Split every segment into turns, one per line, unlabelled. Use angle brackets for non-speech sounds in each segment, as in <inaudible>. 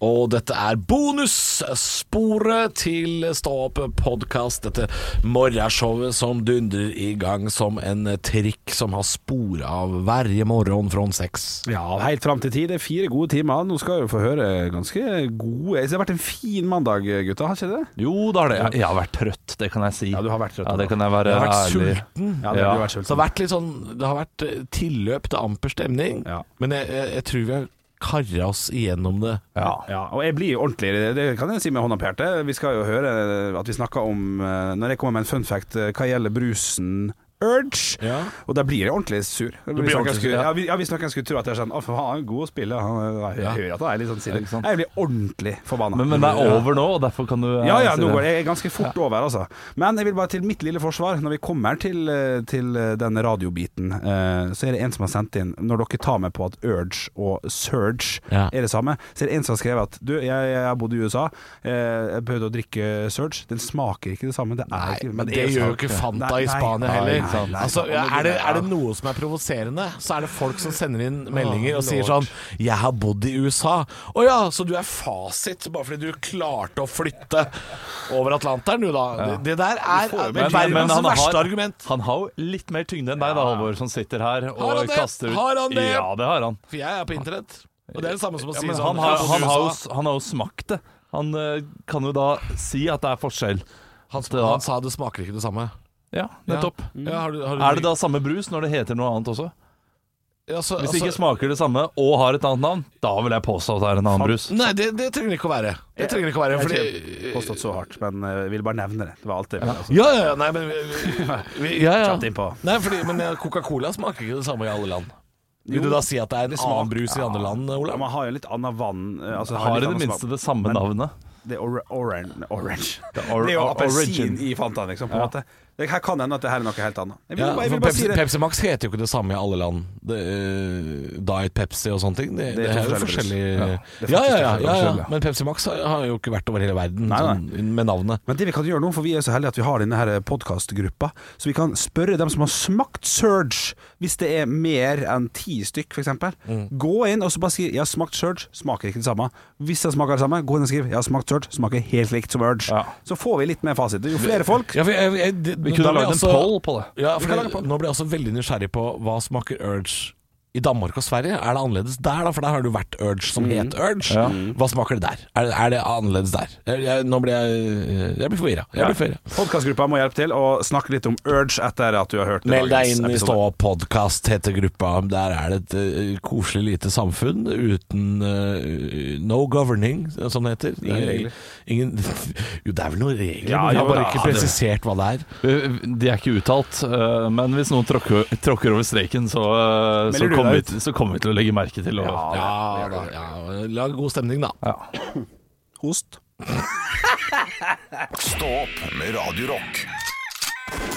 Og dette er bonussporet til Stå opp-podkast. Dette morgenshowet som dundrer i gang som en trikk som har spor av hver morgen fra seks.
Ja, helt fram til ti. Det er fire gode timer. Nå skal vi få høre ganske gode Det har vært en fin mandag, gutta. Har ikke det?
Jo, da er det.
Jeg, jeg har vært trøtt, det kan jeg si.
Ja, du har vært trøtt, da.
Ja, det kan jeg være
Jeg har vært
ærlig.
sulten.
Ja, det
Mm. Ja.
har du vært
Så det har
sulten.
vært litt sånn Det har vært eh, tilløp til amper stemning,
Ja.
men jeg, jeg, jeg tror vi har karra oss igjennom det.
Ja.
Ja, og jeg blir ordentlig Det kan jeg si med hånda på hjertet. Vi skal jo høre at vi snakker om eh, Når jeg kommer med en fun fact eh, hva gjelder brusen Urge,
Ja.
og da blir jeg ordentlig sur. Hvis noen
ordentlig sur,
skulle,
ja.
ja, vi- ja, hvis noen skulle tro at jeg er sånn Å, faen, han er god å spille. Han, er- jeg
Ja.
hører at han er litt sånn
Ja, ikke
sinne.
sant?
Jeg blir ordentlig forbanna.
Men, men det er over nå, og derfor kan du eh,
Ja, ja,
si
nå
det.
går jeg ganske fort over, altså. Men jeg vil bare til mitt lille forsvar. Når vi kommer til, eh, til eh, den radiobiten, eh, så er det en som har sendt inn Når dere tar meg på at urge og surge
Ja.
er det samme, så er det en som har skrevet at Du, jeg, jeg har bodd i USA, eh, jeg prøvde å drikke surge. Den smaker ikke det samme. Det er
Nei,
ikke
men det
er
gjør jo
sant.
ikke Fanta
Nei,
i
nei,
Spania
nei,
heller.
nei, nei.
altså, er, det, er det noe som er provoserende, så er det folk som sender inn meldinger og sier sånn 'Jeg har bodd i USA'. Å ja, så du er fasit bare fordi du klarte å flytte over Atlanteren, du da. Det, det der er, er
Men, men, men
verdens
han,
verste
har,
argument.
han har jo litt mer tyngde enn deg, da, Halvor, som sitter her og
Har han det?
kaster ut
Har han det?
Ja, det har han.
For jeg er på internett, og det er det samme som å
Ja,
si
men
sånn
han, har,
«Jeg
han,
bodde i
har jo,
USA».
s- han har jo smakt det. Han eh, kan jo da si at det er forskjell.
han,
det da.
han sa det smaker ikke det samme.
Ja, nettopp.
Ja, har du, har du,
Mm. Er det da samme brus når det heter noe annet også?
Ja, så-
Hvis det
altså-
ikke smaker det samme og har et annet navn, da vil jeg påstå at det er en annen brus.
Nei, det, det trenger det ikke å være. Det trenger det ikke å være fordi
Jeg har påstått så hardt, men eh, jeg ville bare nevne det. Det var alt det. ville, Altså.
Ja, ja, ja, nei, men vi, vi, vi, ja, ja.
Satt innpå.
Nei, fordi, men eh, Coca-Cola smaker ikke det samme i alle land. Vil
Jo,
du da si at det er en
det smaker-
annen brus i andre land,
Ja,
Olav?
man har jo litt annet vann eh, altså,
Har
litt
i det
annet
minste
smak.
det samme
Men-
navnet.
Det er or orange.
<laughs>
orange. Det,
or-
er jo
or-
appelsin
origin.
i Fanta, liksom. På en
Ja.
måte. Det her kan hende at det her er noe helt annet. Jeg vil,
Ja,
bare, jeg
for
vil bare
Pepsi,
si det.
Pepsi Max heter jo ikke det samme i alle land. Det, eh, Diet Pepsi og sånne ting. Det, det,
Det er to
er jo forskjellig
forskjellige
ja.
brus.
Ja, ja,
Ja, det er faktisk
ja,
forskjellige
ja,
brus, ja.
Men Pepsi Max har- har jo ikke vært over hele verden
Nei, nei.
Sånn, med navnet.
Men det vi kan gjøre nå, for vi er så heldige at vi har denne her podkastgruppa, så vi kan spørre dem som har smakt Surge, hvis det er mer enn ti stykk, f.eks.
Mm.
Gå inn og så bare skriv 'Jeg har smakt Surge', smaker ikke det samme. Hvis det smaker det samme, gå inn og skriv 'Jeg har smakt Surge', smaker helt likt som Urge.
Ja.
Så får vi litt mer fasit. Jo flere folk
Ja, for jeg, jeg, det,
Vi
da altså-
kunne
ble jeg
lagd en
også-
poll på det.
Ja, for jeg, nå ble jeg også veldig nysgjerrig på hva smaker Urge i Danmark og Sverige. Er det annerledes der, da? For der har det jo vært Urge som
Mm.
het Urge. Hva smaker det der? Er, det- er det annerledes der? Jeg, jeg, nå ble jeg Jeg blir forvirra. Jeg blir forvirra.
Podkastgruppa må hjelpe til å snakke litt om Urge etter at du har hørt
Meld deg
dagens
inn i
episode.
Stå opp podkast, heter gruppa. Der er det et eh, koselig lite samfunn uten eh, no governing, som det heter.
Ingen regler.
Ingen, <laughs> jo, det er vel noen regler,
Ja,
men vi
jo
har bare
da,
ikke
det-
presisert hva det er.
De er ikke uttalt, eh, men hvis noen tråkker, tråkker over streken, så, eh, så
Melder du
kommer
deg
vi,
ut?
til- så kommer vi til å legge merke til det.
Ja,
Ja, da, ja, lag god stemning, da.
Ja.
Host.
Stå opp med Radio Rock.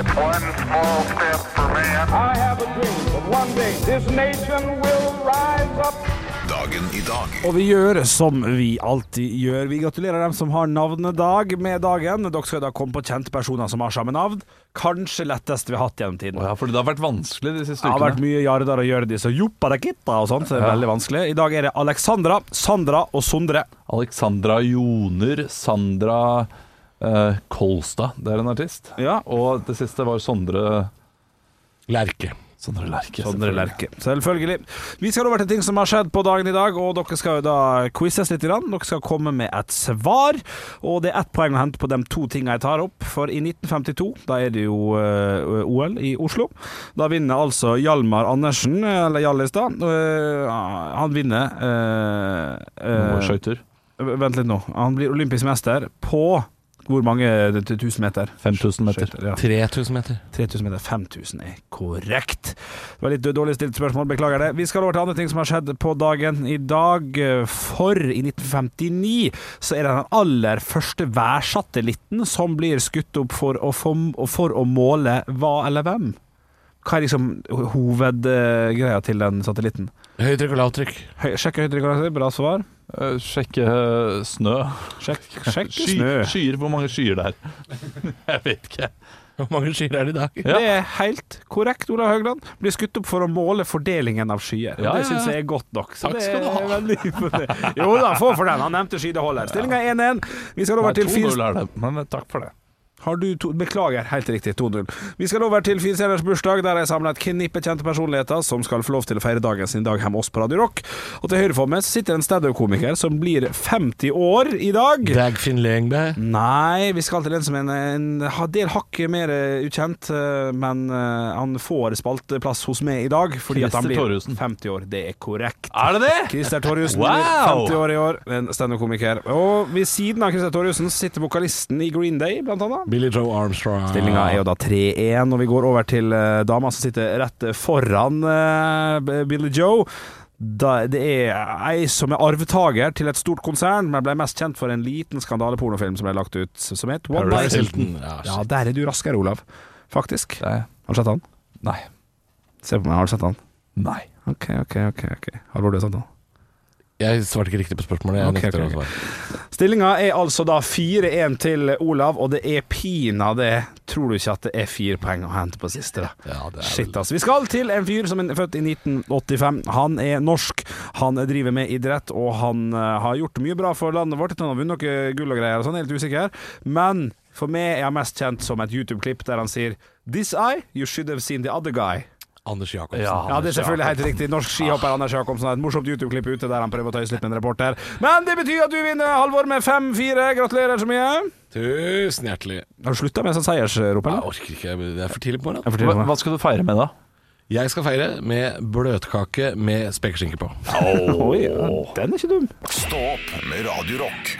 One small step for man.
I have a dream that one day this nation will rise up.
Dagen i dag.
Og vi gjør som vi alltid gjør. Vi gratulerer dem som har navnedag med dagen. Dere skal da komme på kjente personer som har samme navn. Kanskje letteste vi har hatt gjennom tiden.
Å ja, fordi det har vært vanskelig disse
Det har vært
stykene.
mye Jardar og Hjørdis og Joppadekitta og sånt, så det er veldig vanskelig. I dag er det Alexandra, Sandra og Sondre.
Alexandra Joner, Sandra eh, Kolstad, det er en artist.
Ja.
Og det siste var Sondre
Lerke.
Sondre Lerche.
Sånn
Sondre
selvfølgelig.
Lerche. Selvfølgelig. Vi skal over til ting som har skjedd på dagen i dag, og dere skal jo da quizes litt. Grann. Dere skal komme med et svar, og det er ett poeng å hente på de to tingene jeg tar opp. For i 1952, da er det jo eh, OL i Oslo. Da vinner altså Hjalmar Andersen, eller Hjallis, da. eh, han vinner eh, eh,
Noe skøyter.
Vent litt nå. Han blir olympisk mester på hvor mange tusen meter?
5000 meter.
Skøyter, ja.
3000 meter.
3000 meter, 5000 er korrekt. Det var litt dårlig stilt spørsmål, beklager det. Vi skal over til andre ting som har skjedd på dagen i dag. For i 1959 så er det den aller første værsatellitten som blir skutt opp for å, få, for å måle hva eller hvem. Hva er liksom hovedgreia til den satellitten?
Høytrykk og lavtrykk. <laughs>
Høy, sjekk høytrykket, bra svar.
Eh, sjekke eh, snø.
Sjekk, sjekk
Sky,
snø.
Skyer. Hvor mange skyer det er? <laughs> Jeg vet ikke.
Hvor mange skyer er det i dag?
Ja.
Det er helt korrekt, Olav Haugland. Blir skutt opp for å måle fordelingen av skyer. og
Ja,
det
ja,
syns
ja.
jeg er godt nok. Så
Takk
det
skal du ha.
er veldig for det. Jo da, få for den. Han nevnte skydeholder. Stillinga er 1-1. Vi skal
Nei,
over til
2-0
fire...
er det, men takk for det.
Har du to... Beklager, helt riktig. 2-0. Vi skal over til firestjerners bursdag, der jeg samler et knippe kjente personligheter som skal få lov til å feire dagen sin i dag hjemme hos på Radio Rock. Og til høyre for meg så sitter en standup-komiker som blir 50 år i dag.
Dagfinn Lengberg.
Nei, vi skal til en som er en, en ha- del hakket mer eh, ukjent, eh, men eh, han får spalteplass hos meg i dag fordi at han
Christer
blir
Torjussen.
50 år. Det er korrekt.
Er det det?
Christer Torjussen
Wow!
blir 50 år i år, en standup-komiker. Og ved siden av Christer Torjussen sitter vokalisten i Green Day, blant annet.
Billy Joe Armstrong.
Stillinga er jo da 3-1, og vi går over til eh, dama som sitter rett foran eh, Billy Joe. Da, det er ei som er arvtaker til et stort konsern, men ble mest kjent for en liten skandalepornofilm som ble lagt ut, som het One Night
Paris
Hilton.
Hilton. Ja,
Ja, der er du raskere, Olav. Faktisk.
Det er-
Har du sett han?
Nei.
Se på meg, har du sett han?
Nei.
Ok, ok, ok. ok Halvor, du har sett han?
Jeg svarte ikke riktig på spørsmålet. Jeg
Ok,
nekter
ok,
å svare.
Stillinga er altså da 4-1 til Olav, og det er pinadø Tror du ikke at det er fire poeng å hente på siste, da?
Ja, det er
Shit, ass. Vi skal til en fyr som er født i 1985. Han er norsk, han driver med idrett, og han eh, har gjort mye bra for landet vårt. Han har vunnet noe gull og greier, og sånn, jeg er litt usikker. Men for meg er han mest kjent som et YouTube-klipp der han sier This eye, you should have seen the other guy.
Anders Jacobsen.
Ja, det er selvfølgelig helt riktig. Norsk
Ah.
skihopper Anders Jacobsen har et morsomt YouTube-klipp ute der han prøver å tøyse litt med en reporter. Men det betyr at du vinner, Halvor, med 5-4. Gratulerer så mye.
Tusen hjertelig.
Har du slutta med sånn seiersrop,
Jeg
eller?
orker ikke, det er for tidlig på morgenen.
Jeg
Hva,
forteller meg.
hva skal du feire med, da?
Jeg skal feire med bløtkake med spekeskinke på.
Oi, ja, den er ikke dum.
Stå opp med Radio Rock.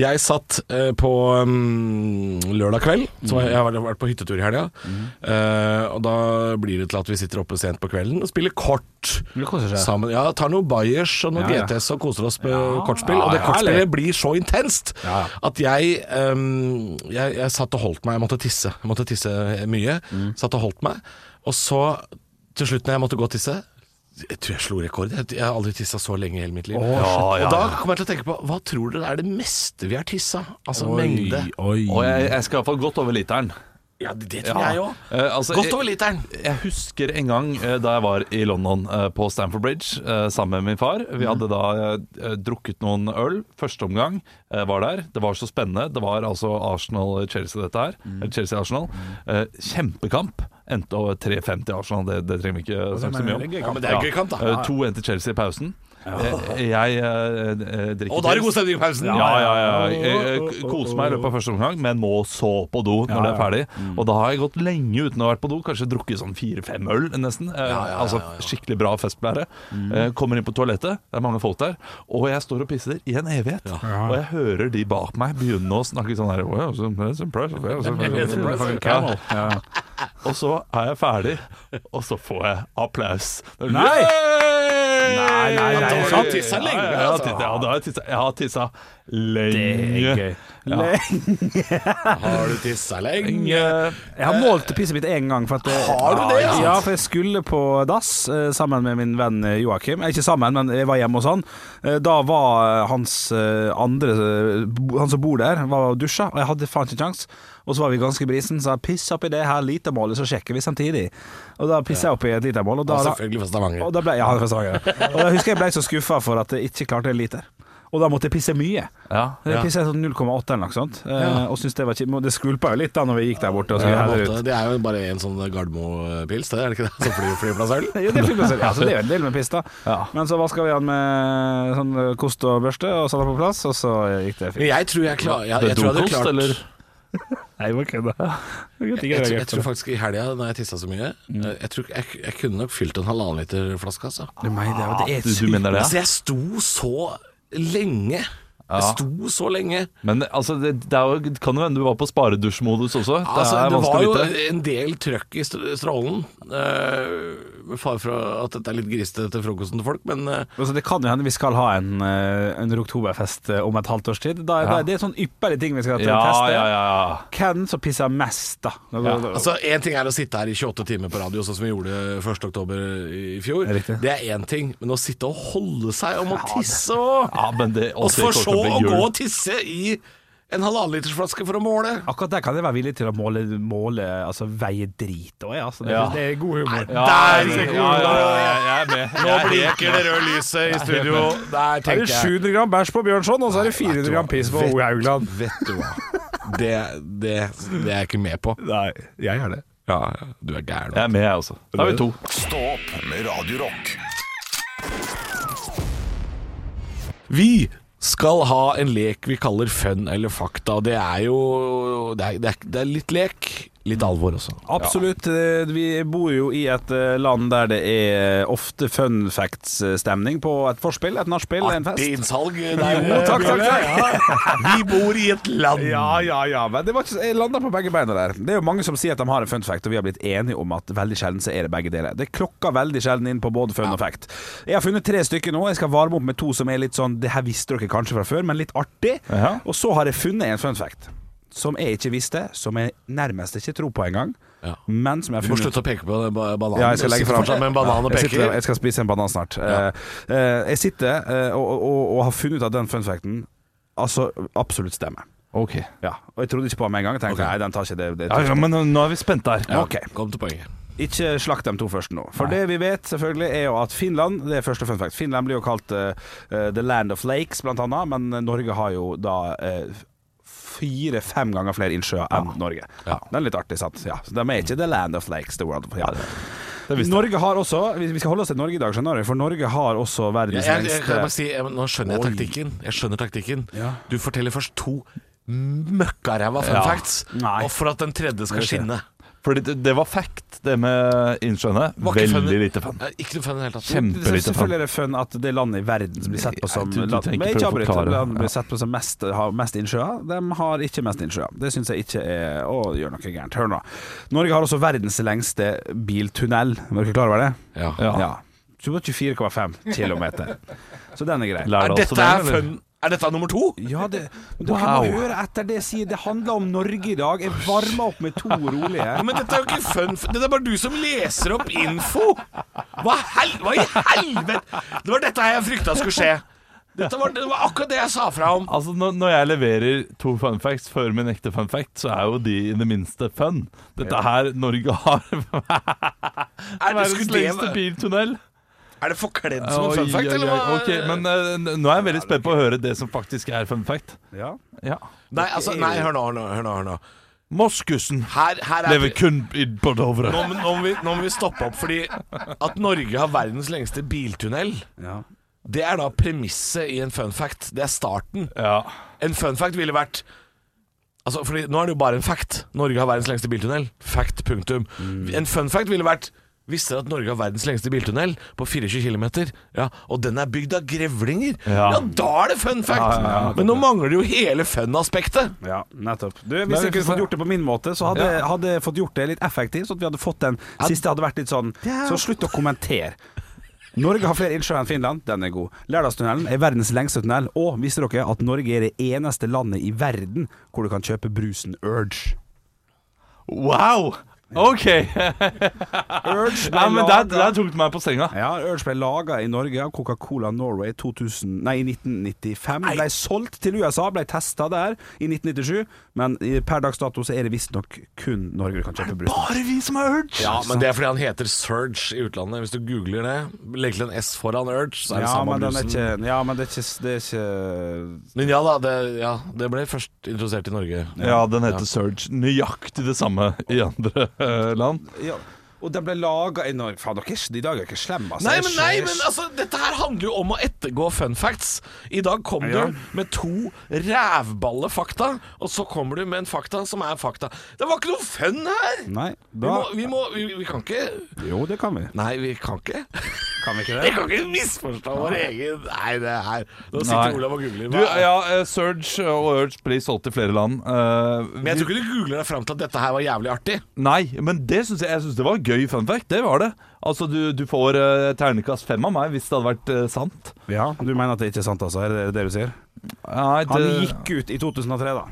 Jeg satt eh, på mm, lørdag kveld, så jeg har vært- vært på hyttetur i helga. Eh, og da blir det til at vi sitter oppe sent på kvelden og spiller kort.
Det koser seg.
Sammen, ja, tar noe Bayers og noe
Ja, ja.
GTS og koser oss med kortspill. og det
ja,
kortspillet
herlig.
blir så intenst
Ja.
at jeg, ehm, jeg Jeg satt og holdt meg. Jeg måtte tisse. Jeg måtte tisse mye.
Mm.
Satt og holdt meg. Og så, til slutt når jeg måtte gå og tisse jeg tror jeg slo rekord. Jeg, jeg har aldri tissa så lenge i hele mitt liv. Og da kommer jeg til å tenke på hva tror dere er det meste vi har tissa? Altså mengde.
Oi.
Og jeg, jeg skal iallfall godt over literen.
Ja, det tror jeg òg.
Eh, altså,
Godt
jeg-
over literen.
Jeg husker en gang eh, da jeg var i London eh, på Stamford Bridge eh, sammen med min far.
Mhm.
Vi hadde da eh, drukket noen øl. Første omgang eh, var der. Det var så spennende. Det var altså Arsenal-Chelsea, dette her.
Mhm.
Eh, Chelsea-Arsenal. Eh, Kjempekamp. Endte over 3-5 til Arsenal. Det, det trenger vi ikke eh, snakke så mye om.
Ja, men det er en gøy kamp, da.
Eh, 2-1 til Chelsea i pausen. Eh, Jeg eh, eh, drikker
Og da er det
pils.
god stemning i pausen.
Ja, ja, ja. Eh, Jeg, jeg koser meg i løpet av første omgang, men må så på do når det er ferdig. Og da har jeg gått lenge uten å ha vært på do, kanskje drukket sånn fire-fem øl nesten. Eh, Altså skikkelig bra festblære. Eh, Kommer inn på toalettet, det er mange folk der, og jeg står og pisser i en evighet. Og jeg hører de bak meg begynne å snakke sånn her wow, so- that's impressive, yeah, so- that's impressive." Ja. Og så er jeg ferdig, og så får jeg applaus.
Nei!
Nei,
nei, nei.
Du har tissa lenge, altså.
Ja, ja, jeg har tissa- ja, da har jeg tissa- jeg har tissa lenge.
Gøy. Jeg
Har du tissa lenge?
Lenge.
har målt pisset mitt én gang. For at
Har du det, ja?
Ja, for jeg skulle på dass eh, sammen med min venn eh, Joakim. Eh, Ikke sammen, men jeg var hjemme hos han. Eh, Da var eh, hans eh, andre eh, bo- Han som bor der, var og dusja, og jeg hadde faen ikke kjangs. Og så var vi ganske brisen, så jeg piss oppi det her litermålet, så sjekker vi samtidig. Og da pisser jeg oppi et litermål, og da,
Ja, selvfølgelig fra Stavanger.
og da ble, ja, han er fra Stavanger. Og da husker jeg ble så skuffa for at jeg ikke klarte en liter. Og da måtte jeg pisse mye.
Ja,
Jeg pisset sånn 0,8 eller noe sånt. eh, Og syntes det var kjipt. Men Det skvulpa jo litt da når vi gikk der borte. Og skulle
Ja, på en
helle ut.
måte. det er jo bare en sånn Gardermo-pils, det er det ikke det? Som fly, flyplassøl?
Jo, det er flyplassøl. <laughs> Ja, så det er jo en del med piss, da.
Ja.
Men så vaska vi han med sånn kost og børste og satte han på plass, og så gikk det
Men
fint.
jeg tror jeg, klar, jeg, jeg,
Det
tror jeg hadde
dokost,
klart
eller?
Nei, hva kødda?
Jeg, tror- jeg tror faktisk i helga, når jeg tissa så mye
Mm.
eh, Jeg tror jeg, jeg kunne nok fylt en halvannen liter flaske, altså.
Ah, Du, meg, det er jo- det er
Du, du mener det?
Altså, jeg sto så lenge Det sto så lenge.
Men altså, det, det er jo, kan jo hende du var på sparedusjmodus også.
Altså,
det er
det var
vanskelig
jo
å vite.
en del trøkk i st- strålen. eh, Med far for at dette er litt grisete til frokosten til folk, men eh,
Altså, det kan jo hende vi skal ha en, eh, en Roktoberfest eh, om et halvt års tid. Da, da, det er sånn ypperlig ting vi skal
Ja,
teste.
ja, ja. ja.
Hvem som pisser mest, da?
Altså, Én ting er å sitte her i 28 timer på radio, sånn som vi gjorde 1. oktober i fjor.
Riktig.
Det er én ting, men å sitte og holde seg om å tisse og
ja men det,
Og
også,
for
det
så
kommer til
å
bli
gå
jul.
og tisse i en halvannenlitersflaske for å måle.
Akkurat der kan jeg være villig til å måle, måle altså veie drit òg, jeg. Altså, det,
Ja.
det er god humor.
Ja,
Der
ja,
gikk
ja, ja, ja, jeg er med. Jeg er helt
blinker det røde lyset i studio. Der
Det er
tenker jeg
700 gram bæsj på Bjørnson, og så er det 400 gram piss på Ove Haugland.
Vet du hva. Det, det, det er jeg ikke med på.
Nei, jeg er det.
Ja, du er gæren.
Jeg er med, jeg også. Da er vi to.
Stå opp med Radio Rock.
Vi skal ha en lek vi kaller fun eller fakta. og Det er jo Det er, det er, det er litt lek, litt alvor også.
Absolutt. Eh, Vi bor jo i et eh, land der det er eh, ofte fun facts-stemning på et forspill, et nachspiel, en fest.
innsalg.
<laughs> Jo, takk, takk,
Vi bor i et land.
Ja, ja, ja. Men det var ikke, jeg landa på begge beina der. Det er jo mange som sier at de har en fun fact, og vi har blitt enige om at veldig sjelden så er det begge deler. Det klokker veldig sjelden inn på både fun og fact. Jeg har funnet tre stykker nå. Jeg skal varme opp med to som er litt sånn Det her visste dere kanskje fra før, men litt artig.
Ja.
Og så har jeg funnet en fun fact som jeg ikke visste, som jeg nærmest ikke tror på engang,
Ja.
men som jeg har
Du må
funnet
slutte å peke på den ba- bananen.
ja, jeg skal legge
Du sitter
fram
fortsatt med en banan og
jeg,
peker.
sitter, jeg skal spise en banan snart. Eh, eh, jeg sitter eh, og, og, og har funnet ut at den fun facten altså, absolutt stemmer.
Ok.
Ja, og jeg trodde ikke på ham med en gang. Jeg tenkte, nei, den tar ikke det, det
Ja,
tar
ja,
ikke.
men nå er vi spente her.
Ja,
Ok.
Kom til poenget.
Ikke slakt dem to første nå. For det vi vet, selvfølgelig, er jo at Finland Det er første fun fact. Finland blir jo kalt eh, eh, The Land of Lakes, blant annet, men Norge har jo da eh, Fire-fem ganger flere innsjøer enn Norge.
Ja.
Det er litt artig, sant? Ja, så De er ikke The Land of Lakes, The World of ja.
visste
Norge har også Vi vi skal holde oss til Norge i dag, skjønner du, for Norge har også
Jeg,
verdens
jeg, jeg, kan jeg bare
lengste
si, jeg, nå skjønner jeg taktikken. Jeg skjønner taktikken.
Ja.
Du forteller først to møkkaræva fun
Ja.
facts,
Nei.
og for at den tredje skal skinne.
Fordi det, det var fact, det med innskjønnet.
Var ikke fun-
Veldig lite fun.
Eh, Ikke noe fun i det hele tatt.
Kjempe-
Så Selvfølgelig er det fun at det landet i verden som blir sett på som
Nei, du- du
land,
trenger
Men
ikke
ikke
prøve å
avbryt,
forklare.
land
Ja.
blir sett på som mest, har mest innsjøer. De har ikke mest innsjøer. Det syns jeg ikke er å gjøre noe gærent. Hør nå. Norge har også verdens lengste biltunnel. Er dere klar over det?
Ja.
Ja.
Ja. 24,5 km. Så den er grei.
Lær
Er
deg også
dette
det,
er
eller?
fun? Er dette nummer to?
Ja, det, dere må høre etter det jeg sier. Det handler om Norge i dag. Jeg varmer opp med to rolige.
Ja, men dette er jo ikke fun f- Det er bare du som leser opp info Hva, hel hva i helvete Det var dette her jeg frykta skulle skje dette var, Det var akkurat det jeg sa fra om
Altså, når, når jeg leverer to fun facts før min ekte fun fact, så er jo de i det minste fun. Dette her Norge har <laughs>
Er det,
verdens
skulle
lengste
det,
biltunnel.
er det forkledd som en fun
Oi,
fact,
oi,
eller
oi.
hva?
Ok, men eh, n- nå er jeg veldig spent på å høre det som faktisk er fun fact.
Ja.
Ja.
Nei, altså, nei, hør nå, hør nå, hør nå, hør nå.
Moskusen
Her, her er
lever kun i- på Dovre.
nå, må- nå, må vi, nå må vi stoppe opp, fordi at Norge har verdens lengste biltunnel
Ja.
Det er da premisset i en fun fact Det er starten
Ja.
En fun fact ville vært Altså, fordi Nå er det jo bare en fact. Norge har verdens lengste biltunnel. Fact, punktum. En fun fact ville vært Visste dere at Norge har verdens lengste biltunnel på 24 km? Ja, og den er bygd av grevlinger! Ja,
Ja.
da er det fun fact! Men nå mangler jo hele fun-aspektet.
Ja, nettopp. Du, hvis
Nei,
jeg kunne
så-
fått gjort det på min måte, så hadde,
Ja.
hadde jeg fått gjort det litt effektivt. Så at vi hadde fått den siste hadde vært litt sånn Så slutt å kommentere. Norge har flere innsjøer enn Finland. Den er god. Lærdalstunnelen er verdens lengste tunnel. Og visste dere at Norge er det eneste landet i verden hvor du kan kjøpe brusen Urge?
Wow! OK.
Urge ble
Nei, men der,
laget-
der tok du meg på senga.
ja, Urge ble laga i Norge av Coca-Cola Norway 2000, nei, i 1995. Ble solgt til USA, ble testa der i 1997, men i- per dags dato så er det visstnok kun Norge du kan kjøpe brusen.
Bare vi som har urge!
Ja, men det sånn. er fordi han heter Surge i utlandet. Hvis du googler det, legg til en S foran Urge, så er det
Ja
samme
men, den er
brusen.
ikke, ja, men det er ikke, det er ikke
Men ja da, det, ja, det ble først introdusert i Norge.
Ja, den heter Surge. Nøyaktig det samme i andre eh, land.
ja. Og den ble laga i Norge Faen, dere er ikke- de dager er ikke slemme, altså.
Nei,
Jeg
men,
skjø-
nei,
jeg
men
skjø-
altså, dette her handler jo om å ettergå fun facts. I dag kom
Ja.
du med to rævballe fakta, og så kommer du med en fakta som er fakta. Det var ikke noe fun her!
Nei,
Vi, må,
da
vi, må, vi, vi kan ikke
Jo, det kan vi.
Nei, vi kan ikke.
Kan vi
Vi
ikke det?
kan ikke misforstå vår egen Nei, det er her Nå
Nei.
sitter Olav og googler.
Du,
Hva-
ja, eh, Surge og Urge blir solgt til flere land. Eh,
Men jeg tror ikke du googler deg fram til at dette her var jævlig artig.
Nei, men det synes jeg, jeg synes det var en gøy fun fact. Det var det. Altså, du, du får uh, ternekast fem av meg hvis det hadde vært eh, sant.
Ja, Du mener at det ikke er sant, altså? Er det det du sier?
Nei, det...
Han gikk ut i 2003, da.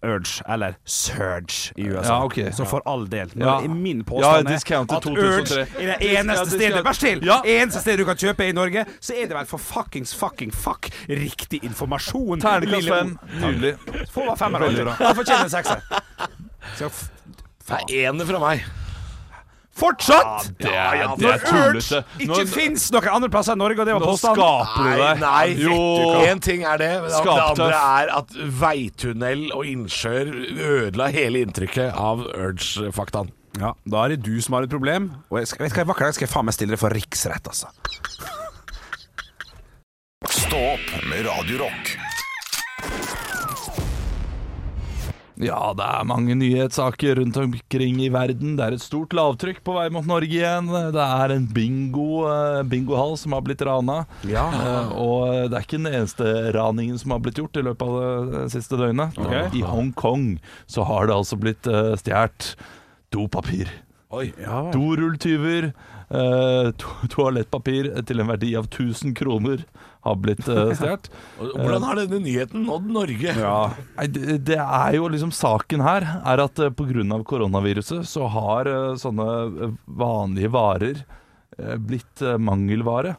Urge, eller Surge i USA.
Ja, ok.
Så for all del. Men
Ja.
Min
Ja,
påstand er
discounted
at
2003.
Urge er det eneste stedet Vær still!
Ja.
Eneste stedet du kan kjøpe i Norge, så er det vel for fuckings fucking fuck riktig informasjon.
Ternekast
lille
fem. Nydelig.
ord. Få bare femmer, Roger. Han fortjener en sekser. Så f-
Det er ener fra meg.
Fortsatt!
det er- det
Når Urge
er tullete.
ikke
Nå-
fins noen andre plasser enn Norge, og det var
Nå
påstanden.
skaper du deg. jo.
Én ting er det, men det
Skaptøff.
andre er at veitunnel og innsjøer ødela hele inntrykket av Urge-faktaen.
Ja, da er det du som har et problem. Og jeg skal, vet du hva, vakker dag skal jeg faen meg stille det for riksrett, altså.
Stå opp med Radio Rock.
Ja, det er mange nyhetssaker rundt omkring i verden. Det er et stort lavtrykk på vei mot Norge igjen. Det er en bingo, eh, bingohall som har blitt rana. Eh, Og det er ikke den eneste raningen som har blitt gjort i løpet av det eh, siste døgnet. I Hongkong så har det altså blitt eh, stjålet dopapir. Dorulltyver, eh, to <laughs> toalettpapir til en verdi av 1000 kroner har blitt eh, stjålet.
Og Hvordan har denne nyheten nådd Norge?
Nei, det, det er jo liksom saken her er at eh, på grunn av koronaviruset så har eh, sånne eh, vanlige varer eh, blitt eh, mangelvare.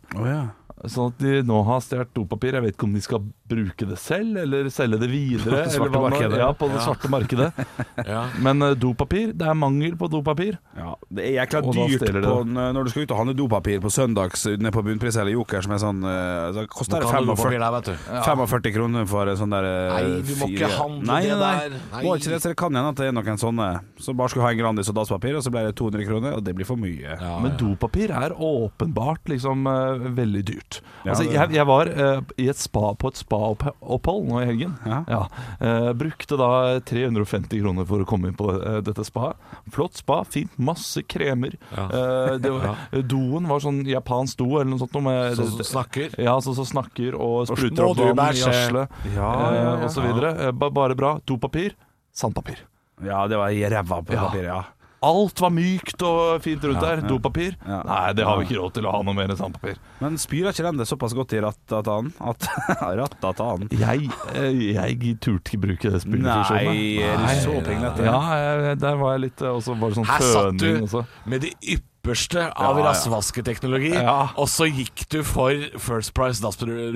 Sånn at de nå har stjålet dopapir. Jeg vet ikke om de skal bruke det selv, eller selge det videre.
det
eller
svarte
hva nå-
markedet.
Ja, på det svarte markedet.
<laughs>
Ja.
Men eh, dopapir, det er mangel på dopapir.
Ja, det er jækla
Og da
dyrt
stjeler det.
på, n- når du skal ut og handle dopapir på søndags nede på Bunnpris eller Joker, som er sånn eh, så Koster
Nå
det
kan du papir
45,
der, vet du.
45 kroner for en sånn der eh,
Nei, du må ikke handle
nei,
det
nei.
der.
Nei.
Nei.
Må ikke det, så det kan hende at det er noen sånne som bare skulle ha en Grandis og dasspapir, og så ble det 200 kroner, og det blir for mye.
Men dopapir er åpenbart liksom eh, veldig dyrt.
Ja,
altså,
det-
jeg, jeg var eh, i et spa, på et spaopphold nå i helgen.
Ja.
Eh, brukte da 350 kroner for å komme inn på eh, dette spaet. Flott spa, fint, masse kremer. Eh, det
<laughs>
var, Doen var sånn japansk do eller noe sånt. noe Med,
Sånn som snakker.
Ja, sånn som snakker og spruter
Må
opp
du
vann i
bæsje?
gjødselet
Ja, ja, ja.
og så videre. Eh, ba- bare bra. Dopapir, sandpapir.
Ja, det var i ræva på
Ja.
papiret, ja.
Alt var mykt og fint rundt der. Dopapir?
Ja.
Nei, det har vi ikke råd til å ha noe mer enn sandpapir.
Men spyr ikke den det såpass godt i rattatanen? At <laughs> rattatanen
Jeg, eh, jeg turte ikke bruke det
Nei,
spillfunksjonen.
er du så pinglete?
Ja, jeg, der var jeg litt eh, Og så var det sånn
Her satt du
føning også.
med de ypperste av
Ja, ja.
rassvasketeknologi,
Ja.
og så gikk du for First Price dassrull.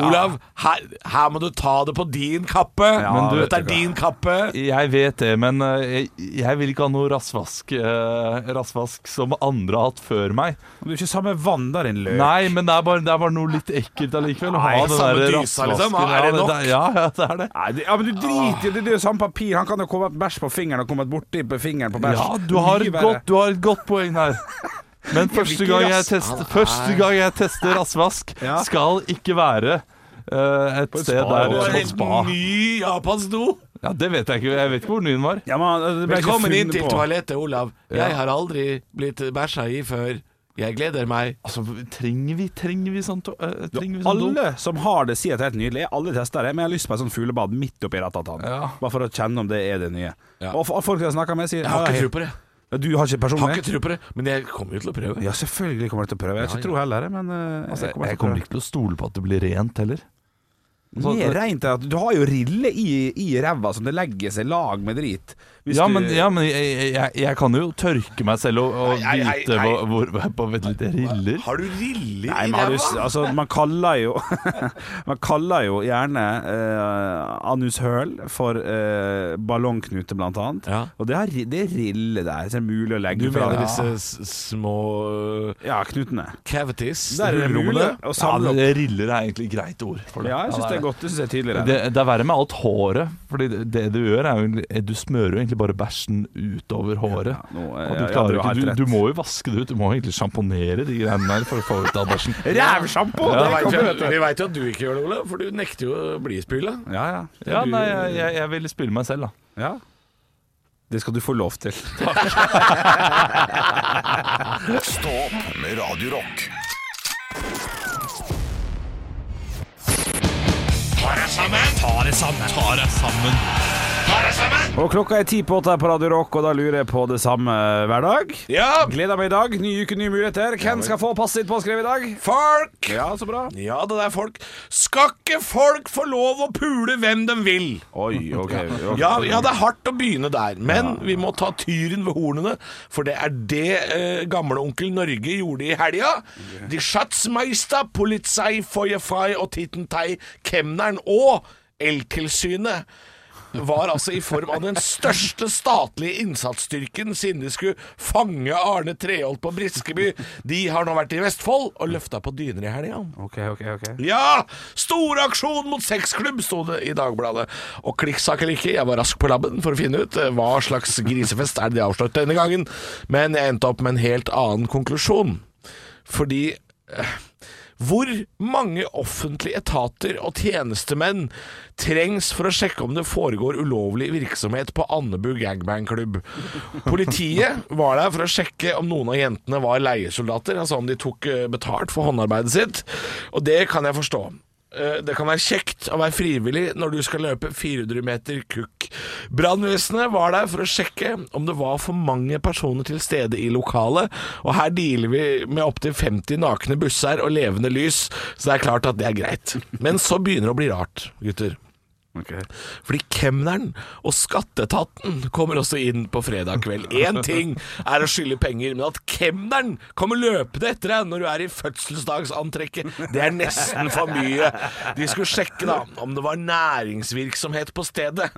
Olav, her, her må du ta det på din kappe.
men du-
Dette er din kappe.
Jeg vet det, men eh, jeg, jeg vil ikke ha noe rassvask, eh, rassvask som andre har hatt før meg.
Du er ikke samme vann der, din løk.
Nei, men det er bare, det er bare noe litt ekkelt allikevel. Å ha
Nei,
den
samme dysa,
der rassvasken.
liksom. Er det
Ja,
nok?
det- Ja, ja, det er det.
Nei, det, ja, men du driter jo i det. Det er jo samme papir. Han kan jo komme et bæsj på fingeren og komme et borti på fingeren på bæsj.
Ja, du har,
Mye
et
verre.
godt, du har et godt poeng her. Men første
hvilken
gang jeg
rass-
tester, første gang jeg tester rassvask,
Ja.
skal ikke være eh, et
et
sted
spa,
der
Det var
det var
på
en
et
helt
spa.
ny japansk do.
Ja, det vet jeg ikke. Jeg vet ikke hvor ny den var.
Ja, men, eh, det ble ikke
Velkommen inn
funnet
til
på.
toalettet, Olav. Jeg har aldri blitt bæsja i før. Jeg gleder meg.
Altså, trenger vi, trenger vi sånt? eh, trenger vi sånt do?
Alle som har det, sier at det er helt nydelig. Jeg har aldri testa det, men jeg har lyst på et sånt fuglebad midt oppi rattatanen.
Ja.
Bare for å kjenne om det er det nye.
Ja.
Og f- og folk jeg snakker med, sier
Jeg har
ja,
ikke tro på det.
Ja, Du har ikke
Jeg Har
personlig?
ikke tro på det, men jeg kommer jo til å prøve.
Ja, selvfølgelig kommer jeg til å prøve. Jeg har
Ja,
ikke
ja.
tro heller, men eh,
Altså,
til å
jeg kommer
prøve.
ikke til å stole på at det blir rent heller. Altså,
Mer rent er at du har jo riller i, i ræva som det legger seg lag med drit. Hvis
Ja,
du-
men, ja, men jeg, jeg, jeg kan jo tørke meg selv og, og
Nei, nei,
vite
nei,
hvor, hvor, på et lite riller.
Har du riller
Nei,
i
men har du, s-
ræva?
altså, man kaller jo <laughs> Man kaller jo gjerne eh, anushøl for eh, ballongknute, blant annet.
Ja.
Og det, har, ri- det er rille der, så det er mulig å
Du
legge fra
mener
deg.
disse s- små øh,
Ja, knutene.
cavities?
Der er det mulig
hullrommene?
å
Ja,
samle opp.
det- riller er egentlig et greit ord for det.
Ja, jeg syns det er godt. Det syns jeg er tydeligere.
Det, det er verre med alt håret. Fordi det, det du gjør, er jo egentlig- eh, Du smører jo egentlig bare bæsjen utover håret.
Ja, nå, eh,
og du,
ja,
klarer
du har helt
ikke, du,
rett.
du må jo vaske det ut. Du må egentlig sjamponere de greiene der for å få ut all
<laughs>
bæsjen.
Rævsjampo!
Ja,
det
Vet
kommer,
vi-
vet du.
Vi veit jo at du ikke gjør det, Olav, for du nekter jo å bli spyla.
Ja, ja.
Ja, nei, jeg, jeg, jeg ville spille meg selv, da.
ja. Det skal du få lov til.
Stå opp med Radio Rock.
deg sammen! Ta deg sammen!
Og klokka er ti på åtte her på Radio Rock, og da lurer jeg på det samme hver dag.
Ja!
Gleder meg i dag. Ny uke, nye muligheter. Hvem skal få passet sitt påskrevet i dag?
Folk!
Ja, så bra.
Ja, det der folk Skal ikke folk få lov å pule hvem de vil?
Oi, OK. ok.
Ja, ja, det er hardt å begynne der, men vi må ta tyren ved hornene. For det er det eh, gamle onkel Norge gjorde i helga. De Schatzmeister, Polizei, Feuerfrei og Tittentei, kemneren og Eltilsynet var altså i form av den største statlige innsatsstyrken siden de skulle fange Arne Treholt på Briskeby. De har nå vært i Vestfold og løfta på dyner i helga.
OK, OK. ok
Ja! Storaksjon mot sexklubb, sto det i Dagbladet. Og klikksak eller ikke, jeg var rask på labben for å finne ut eh, hva slags grisefest er det de avslørte denne gangen, men jeg endte opp med en helt annen konklusjon. Fordi eh, hvor mange offentlige etater og tjenestemenn trengs for å sjekke om det foregår ulovlig virksomhet på Andebu gangbangklubb? Politiet var der for å sjekke om noen av jentene var leiesoldater, altså om de tok eh, betalt for håndarbeidet sitt, og det kan jeg forstå. Eh, Det kan være kjekt å være frivillig når du skal løpe 400 meter kukk. Brannvesenet var der for å sjekke om det var for mange personer til stede i lokalet, og her dealer vi med opptil 50 nakne busser og levende lys, så det er klart at det er greit. Men så begynner det å bli rart, gutter. Fordi kemneren og skatteetaten kommer også inn på fredag kveld. Én ting er å skylde penger, men at kemneren kommer løpende etter deg når du er i fødselsdagsantrekket, det er nesten for mye. De skulle sjekke da om det var næringsvirksomhet på stedet.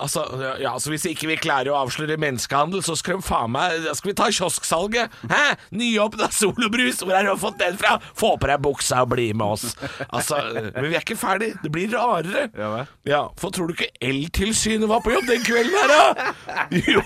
Altså, ja, altså Hvis ikke vi klarer å avsløre menneskehandel, så skal de faen meg da Skal vi ta kiosksalget? Hæ? Nyåpna solobrus, hvor har du fått den fra? Få på deg buksa og bli med oss. Altså, Men vi er ikke ferdig. Det blir rarere.
Ja vel.
Ja, for tror du ikke Eltilsynet var på jobb den kvelden her, da? Jo,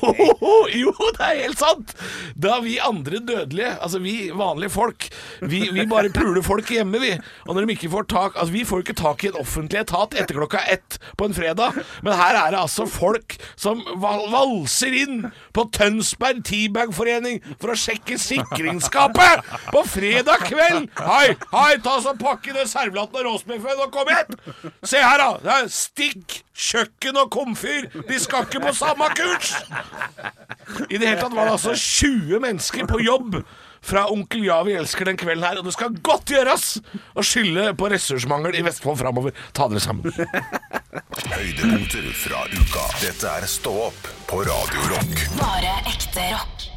jo, det er helt sant! Da vi andre dødelige, altså vi vanlige folk, vi, vi bare puler folk hjemme, vi. Og når de ikke får tak Altså, vi får jo ikke tak i en offentlig etat etter klokka ett på en fredag, men her er det altså folk som val valser inn på Tønsberg Teabagforening for å sjekke sikringsskapet på fredag kveld! Hei, hei, ta så pakke det servelaten og råsmefføen og kom hit! Se her, da! Det er stikk, kjøkken og komfyr! De skal ikke på samme kurs! I det hele tatt var det altså 20 mennesker på jobb fra Onkel Ja vi elsker den kvelden her, og det skal godt gjøres å skylde på ressursmangel i Vestfold framover. Ta dere sammen.
Høydepunkter fra uka. Dette er Stå opp på Radio Rock.
Bare ekte rock.